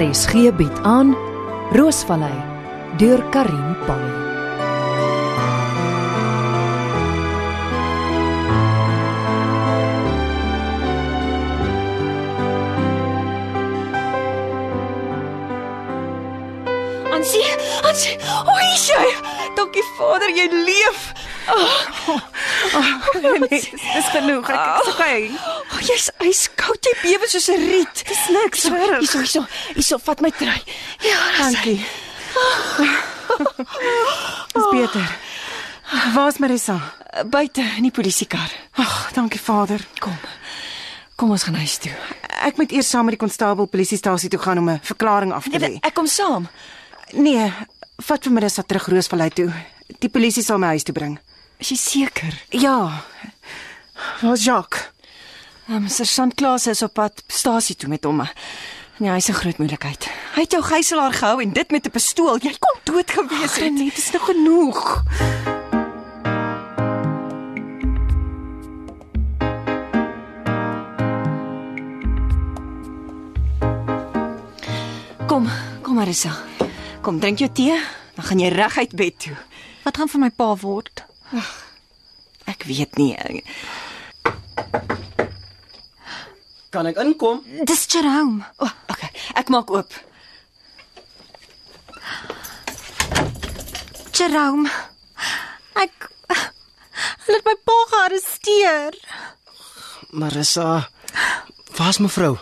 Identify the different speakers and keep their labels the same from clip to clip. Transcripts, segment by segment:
Speaker 1: RSG bied aan Roosvallei deur Karin Pan.
Speaker 2: Ansie, Ansie, oei sjoe. Dankie Vader, jy leef. Oh, nee.
Speaker 3: Dis dis genoeg. Ek ek's okay.
Speaker 2: Oh, jy's yskoud, jy bewe soos 'n riet.
Speaker 3: Dis niks
Speaker 2: Hierso,
Speaker 3: erg.
Speaker 2: hierso, hierso, vat my trui. Ja, dis-
Speaker 3: Dankie. Dis beter. Waar's Marissa?
Speaker 2: Buite in die polisiekar.
Speaker 3: Ag, dankie Vader.
Speaker 2: Kom. Kom ons gaan huis toe.
Speaker 3: Ek moet eers saam met die konstabel polisiestasie toe gaan om 'n verklaring af te lê.
Speaker 2: Nee, ek kom saam.
Speaker 3: Nee, vat vir Marissa terug Roosvallei toe. Die polisie sal my huis toe bring.
Speaker 2: Is jy seker?
Speaker 3: Ja. Waar's Jacques?
Speaker 2: Um, Sergeant Klaas is op pad stasie toe met hom. Nee, hy's 'n groot moeilikheid. Hy het jou gijslaer gehou en dit met 'n pistool. Jy kon dood gewees het.
Speaker 3: Net is nog genoeg.
Speaker 2: Kom, kom Marissa. Kom, drink jou tee, dan gaan jy reguit bed toe.
Speaker 4: Wat gaan van my pa word?
Speaker 2: Ek weet nie. ek-
Speaker 5: Kan ek inkom?
Speaker 4: Dis Jerome.
Speaker 2: O, oh, okay. Ek maak oop.
Speaker 4: Jerome. Ek hulle het my pa gearresteer.
Speaker 5: Marissa, waar's mevrou?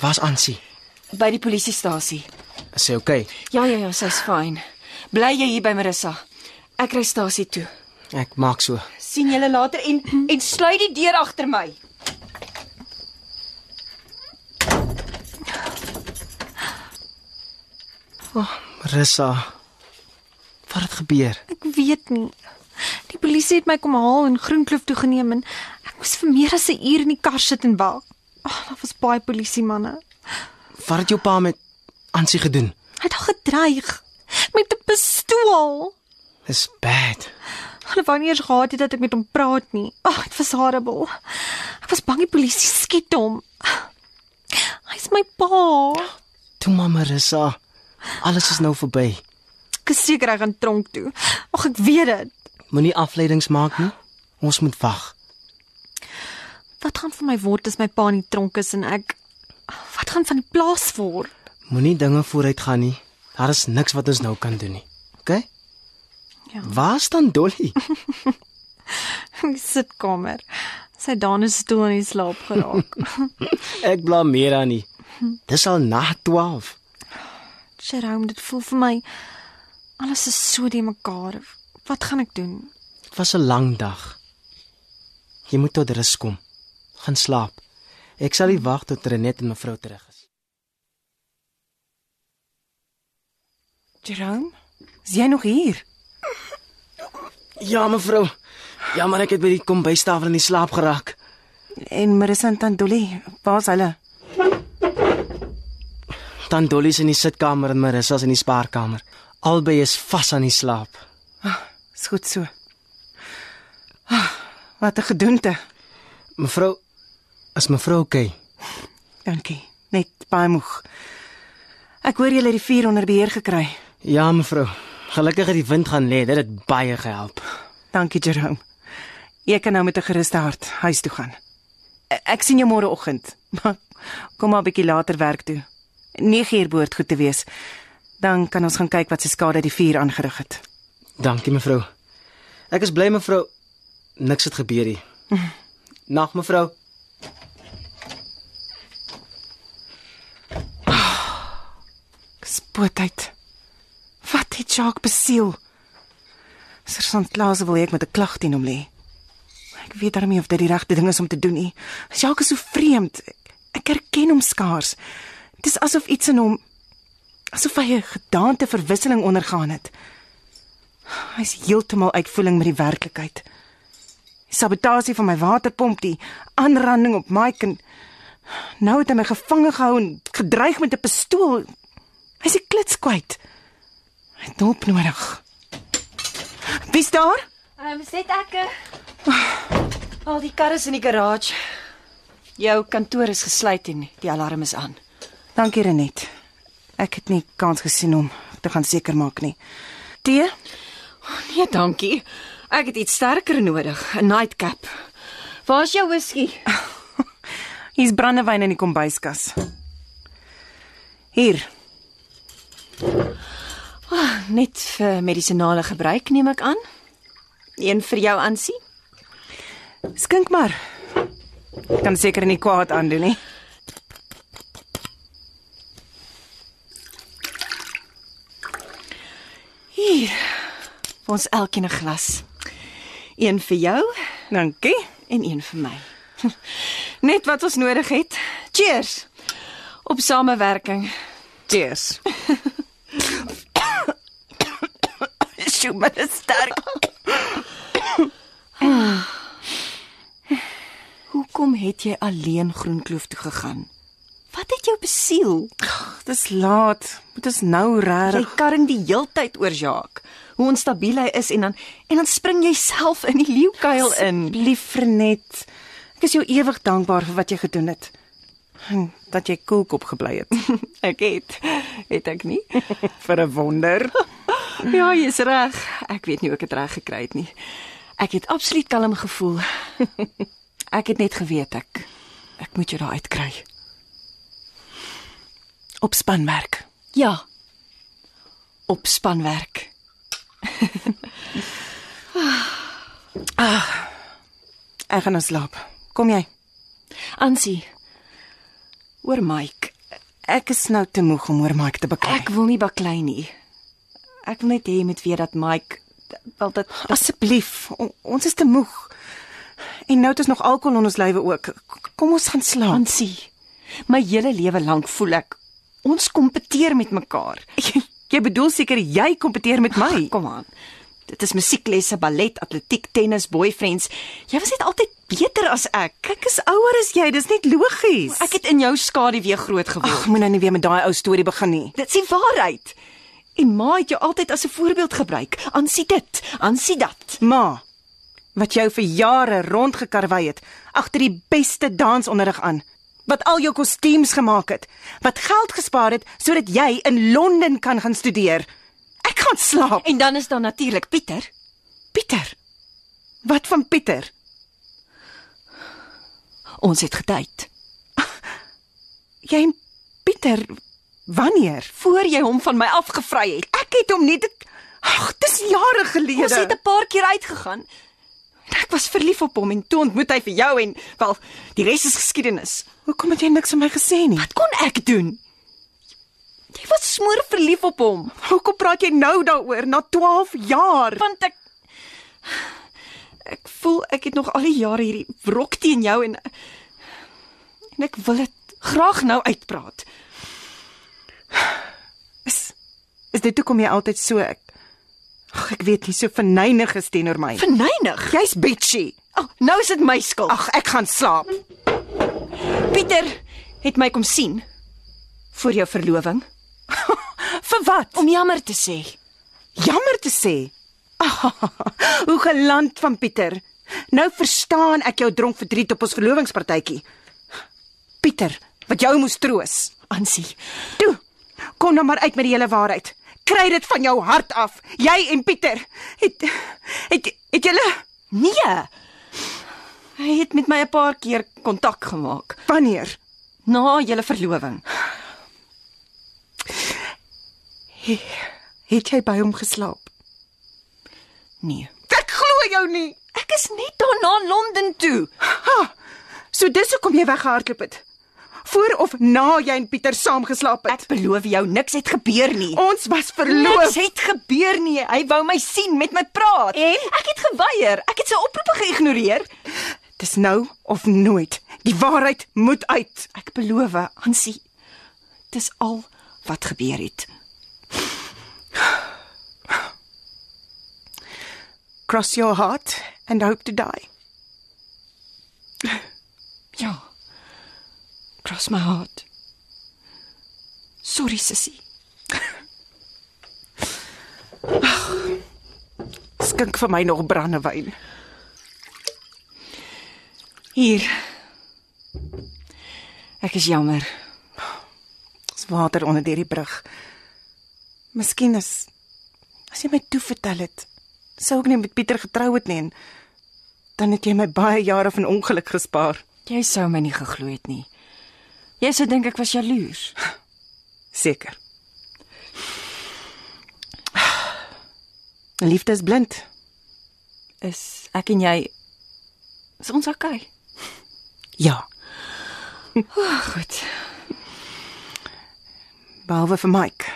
Speaker 5: Waar's Ansie?
Speaker 2: By die polisiestasie.
Speaker 5: Is sy okay?
Speaker 2: Ja, ja, ja, sy's fyn. Bly jy hier by Marissa. Ek ry stasie toe.
Speaker 5: Ek maak so.
Speaker 2: sien julle later en
Speaker 3: Mhm.
Speaker 2: en sluit die deur agter my.
Speaker 5: Marissa, wat het gebeur?
Speaker 4: Ek weet nie. Die polisie het my kom haal en Groenkloof toe geneem en ek moes vir meer as 'n uur in die kar sit en wag. Ag, oh, daar was baie polisie manne.
Speaker 5: Wat het jou pa met Ansie gedoen?
Speaker 4: Hy het haar gedreig met 'n pistool.
Speaker 5: Dis bad.
Speaker 4: Hulle wou nie eers gehad het dat ek met hom praat nie. Ag, dit was horrible. Ek was bang die polisie skiet hom. Hy's my pa.
Speaker 5: Toe maar Marissa, alles is nou verby.
Speaker 4: Ek is seker hy gaan tronk toe. Ag ek weet dit.
Speaker 5: Moenie afleidings maak nie. Ons moet wag.
Speaker 4: Wat gaan van my word as my pa in die tronk is en ek wat gaan van die plaas word?
Speaker 5: Moenie dinge vooruit gaan nie. Daar is niks wat ons nou kan doen nie. OK?
Speaker 4: Ja.
Speaker 5: Waar staan Dolly?
Speaker 4: In die sitkamer. Sy danes stoel in die slaap geraak.
Speaker 5: Ek blameer haar nie. Dis al na 12.
Speaker 4: Jerome, dit voel vir my alles is so die mekaar. Wat gaan ek doen?
Speaker 5: Dit was 'n lang dag. Jy moet tot rus kom. Gaan slaap. Ek sal nie wag tot Renet en mevrou terug is.
Speaker 3: Jerome, is jy nog hier?
Speaker 5: Ja, mevrou. Ja, maar ek het by die kombuistafel in die slaap geraak.
Speaker 3: En Marissa en Tandoli, waar's hulle?
Speaker 5: Dan Dolly is in die sitkamer en Marissa is in die spaarkamer. Albei is vas aan die slaap.
Speaker 3: Is goed so. Ah, wat 'n gedoente.
Speaker 5: Mevrou, is mevrou oukei? Okay?
Speaker 3: Dankie. Net baie moeg. Ek hoor julle het die vuur onder beheer gekry.
Speaker 5: Ja, mevrou. Gelukkig het die wind gaan lê. Dit het baie gehelp.
Speaker 3: Dankie Jerome. Jy kan nou met 'n geruste hart huis toe gaan. E- Ek sien jou môreoggend. Maar kom maar 'n bietjie later werk toe. 9 uur behoort goed te wees. Dan kan ons gaan kyk wat se skade die vuur aangerig het.
Speaker 5: Dankie, mevrou. Ek is bly mevrou. Niks het gebeur nie. Nag, mevrou.
Speaker 3: Spootheid. Wat het Jacques besiel? Sergeant Klaas wil hê ek met 'n klag teen hom lê. Ek weet darem nie of dit die regte ding is om te doen nie. Jacques is so vreemd. Ek, ek herken hom skaars. Dit is asof iets in hom asof hy 'n gedaanteverwisseling ondergaan het. Hy's heeltemal uitvoering met die werklikheid. Die sabotasie van my waterpomp, die aanranding op Mike en nou het hy my gevange gehou en gedreig met 'n pistool. Hy's 'n klits kwyt. Hy het hulp nodig. Wie's daar?
Speaker 2: Ehm um, sit ek. eh? Al die karre is in die garage. Jou kantoor is gesluit en die alarm is aan.
Speaker 3: Dankie Renet. Ek het nie kans gesien om te gaan seker maak nie. Tee?
Speaker 2: Nee, dankie. Ek het iets sterker nodig, 'n nightcap. Waar is jou whisky?
Speaker 3: Hier's brandewyn in die kombuiskas. Hier.
Speaker 2: Net vir medisonale gebruik neem ek aan. Een vir jou aansie.
Speaker 3: Skink maar. Ek kan seker nie kwaad aandoen nie.
Speaker 2: Vir ons elkeen 'n glas. Een vir jou
Speaker 3: Dankie.
Speaker 2: en een vir my. Net wat ons nodig het. Cheers. Op samewerking.
Speaker 3: Cheers.
Speaker 2: Sjoe, maar dit is sterk. Hoekom het jy alleen Groenkloof toe gegaan? Wat het jou besiel?
Speaker 3: Dis laat. Moet ons nou
Speaker 2: Jy
Speaker 3: regtig
Speaker 2: karring die heeltyd oor Jacques, hoe onstabiel hy is en dan en dan spring jy self in die leeukuil in.
Speaker 3: lief Renet. Ek is jou ewig dankbaar vir wat jy gedoen het. En dat jy koelkop gebly het
Speaker 2: Ek het het ek nie.
Speaker 3: vir 'n wonder.
Speaker 2: Ja, jy's reg. Ek weet nie hoe ek dit reg gekry het nie. Ek het absoluut kalm gevoel. Ek het net geweet ek ek moet jou daar uitkry.
Speaker 3: Op spanwerk.
Speaker 2: Ja. Op spanwerk.
Speaker 3: Ek gaan nou slaap. Kom jy?
Speaker 2: Ansie. Oor Mike.
Speaker 3: Ek is nou te moeg om oor Mike te beklei.
Speaker 2: Ek wil nie baklei nie. Ek wil net hê jy moet weet dat Mike wel dit
Speaker 3: Asseblief, o- ons is te moeg. En nou het ons nog alkohol in ons lywe ook. K- Kom ons gaan slaap.
Speaker 2: Ansie. My hele lewe lank voel ek ons kompeteer met mekaar.
Speaker 3: Jy, jy bedoel seker jy kompeteer met my.
Speaker 2: Kom aan. Dit is musieklesse, ballet, atletiek, tennis, boyfriends. Jy was net altyd beter as ek.
Speaker 3: Ek is ouer as jy, dis net logies.
Speaker 2: Ek het in jou skaduwee groot geword.
Speaker 3: Ag, moet nou nie weer met daai ou storie begin nie.
Speaker 2: Dit is die waarheid. En ma het jou altyd as 'n voorbeeld gebruik. Ansie dit, ansie dat.
Speaker 3: Ma, wat jou vir jare rondgekarwei het agter die beste dansonderrig aan, wat al jou kostuums gemaak het, wat geld gespaar het sodat jy in Londen kan gaan studeer. Ek gaan slaap.
Speaker 2: En dan is daar natuurlik Pieter.
Speaker 3: Pieter. Wat van Pieter?
Speaker 2: Ons het gedate.
Speaker 3: Jy en Pieter wanneer?
Speaker 2: Voor jy hom van my afgevry het.
Speaker 3: Ek het hom nie te... Ag, dis jare gelede.
Speaker 2: Ons het 'n paar keer uitgegaan. En ek was verlief op hom en toe ontmoet hy vir jou en wel, die res is geskiedenis.
Speaker 3: Hoekom het jy niks van my gesê nie?
Speaker 2: Wat kon ek doen? Jy was smoor verlief op hom.
Speaker 3: Hoekom praat jy nou daaroor na 12 jaar?
Speaker 2: Want ek ek voel ek het nog al die jare hierdie wrok teen jou en en ek wil dit graag nou uitpraat.
Speaker 3: Is is dit hoekom jy altyd so ek Ag, ek weet nie so verneig is teenoor my.
Speaker 2: Verneig.
Speaker 3: Jy's bitchy.
Speaker 2: Oh, nou is dit my skuld.
Speaker 3: Ag, ek gaan slaap.
Speaker 2: Pieter het my kom sien vir jou verloving
Speaker 3: Vir wat?
Speaker 2: om jammer te sê.
Speaker 3: Om jammer te sê. Ah, hoe geland van Pieter. Nou verstaan ek jou dronk verdriet op ons verlovingspartytjie. Pieter, wat jou moes troos.
Speaker 2: Ansie,
Speaker 3: Toe, kom nou maar uit met die hele waarheid. Kry dit van jou hart af. Jy en Pieter het het het julle
Speaker 2: nee. Hy het met my 'n paar keer kontak gemaak
Speaker 3: wanneer
Speaker 2: na julle verloving.
Speaker 3: het jy by hom geslaap?
Speaker 2: Nee.
Speaker 3: Ek glo jou nie.
Speaker 2: Ek is net daarna Londen toe.
Speaker 3: So dis hoekom jy weggehardloop het. Voor of na jy en Pieter saam geslaap het.
Speaker 2: Ek beloof jou niks het gebeur nie.
Speaker 3: Ons was
Speaker 2: Niks
Speaker 3: verloof.
Speaker 2: het gebeur nie. Hy wou my sien, met my praat. En ek het geweier. Ek het sy oproepe geïgnoreer.
Speaker 3: Dis nou of nooit. Die waarheid moet uit.
Speaker 2: Ek beloof, Hansie, dis al wat gebeur het.
Speaker 3: Cross your heart and hope to die.
Speaker 2: Ja. Cross my heart. Sorry, Sissy.
Speaker 3: Skink vir my nog brandewyn.
Speaker 2: Hier. Ek is jammer.
Speaker 3: Ons water onder deur die brug. Miskien is as jy my toe vertel het, sou ek nie met Pieter getrou het nie en dan het jy my baie jare van ongeluk gespaar.
Speaker 2: Jy sou my nie geglo het nie. Jy sou dink ek was jaloers.
Speaker 3: Seker. Liefde is blind.
Speaker 2: Is ek en jy is ons okay?
Speaker 3: Ja, Ah,
Speaker 2: Goed.
Speaker 3: behalwe vir Mike.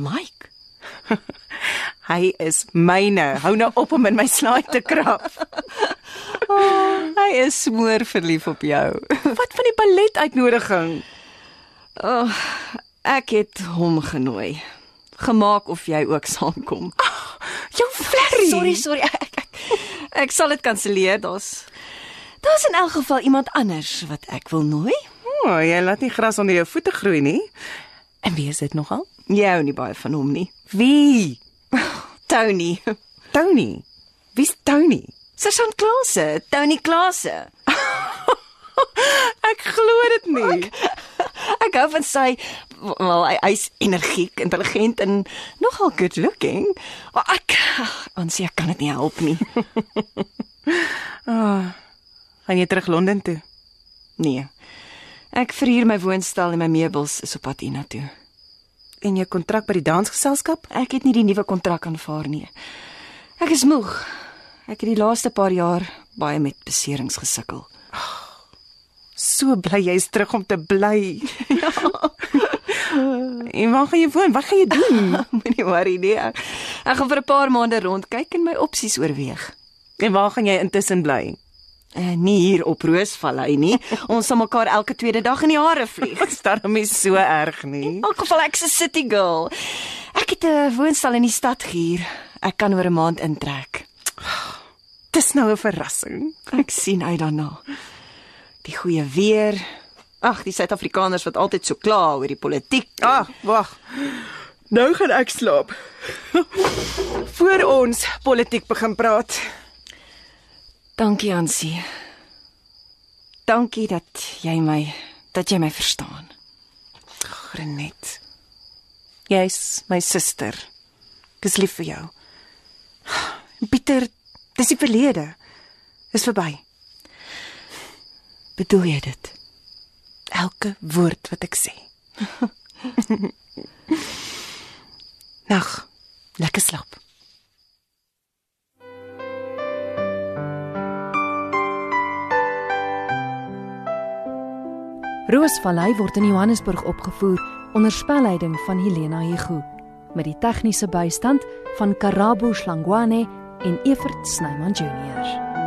Speaker 2: Mike,
Speaker 3: Hy is myne. Hou nou op om in my slaai te krap.
Speaker 2: hy is smoor verlief op jou.
Speaker 3: Wat van die ballet uitnodiging?
Speaker 2: Oh, Ek het hom genooi. Gemaak of jy ook saamkom.
Speaker 3: Jou flerry.
Speaker 2: Sorry, sorry. Ek, ek, ek sal dit kanselleer. Daar's Daar's in elk geval iemand anders wat ek wil nooi.
Speaker 3: O, oh, jy laat nie gras onder jou voete groei nie. En wie is dit nogal?
Speaker 2: Jy hou nie baie van hom nie.
Speaker 3: Wie?
Speaker 2: Tony.
Speaker 3: Tony. Wie's Tony?
Speaker 2: Sergeant Klase, Tony Klase.
Speaker 3: Ek glo dit nie.
Speaker 2: Ek hou van sy wel hy hy's energiek, intelligent en nogal good looking. Maar ek ons ek kan dit nie help nie.
Speaker 3: Ah, Gaan jy terug Londen toe?
Speaker 2: Nee. Ek verhuur my woonstel en my meubels is op pad hiernatoe.
Speaker 3: En jou kontrak by die dansgeselskap?
Speaker 2: Ek het nie die nuwe kontrak aanvaar nie. Ek is moeg. Ek het die laaste paar jaar baie met beserings gesukkel.
Speaker 3: So bly jy's terug om te bly. Ja. en waar gaan jy woon? Wat gaan jy doen?
Speaker 2: Moenie worry nie. Ek, ek gaan vir 'n paar maande rondkyk en my opsies oorweeg.
Speaker 3: en waar gaan jy intussen bly?
Speaker 2: Uh, nie hier op Roosvallei nie. Ons sal mekaar elke tweede dag in die hare vlieg.
Speaker 3: Ek staar hom nie so erg nie.
Speaker 2: In elk geval ek's 'n city girl. Ek het 'n woonstel in die stad gehuur. Ek kan oor 'n maand intrek.
Speaker 3: Dis nou 'n verrassing.
Speaker 2: Ek sien uit daarna. Die goeie weer. Ag, die Suid-Afrikaners wat altyd so kla oor die politiek.
Speaker 3: Ag, Ah, wag. Nou gaan ek slaap. Voor ons politiek begin praat.
Speaker 2: Dankie Ansie. Dankie dat jy my dat jy my verstaan.
Speaker 3: Grenet. Jy's my suster. Ek is lief vir jou. Pieter, dis die verlede. Dis verby.
Speaker 2: Bedoel jy dit?
Speaker 3: Elke woord wat ek sê. Nag. Lekker slaap.
Speaker 1: Roosvallei word in Johannesburg opgevoer onder spelleiding van Helena Hugo met die tegniese bystand van Karabo Slangwane en Evert Snyman Junior.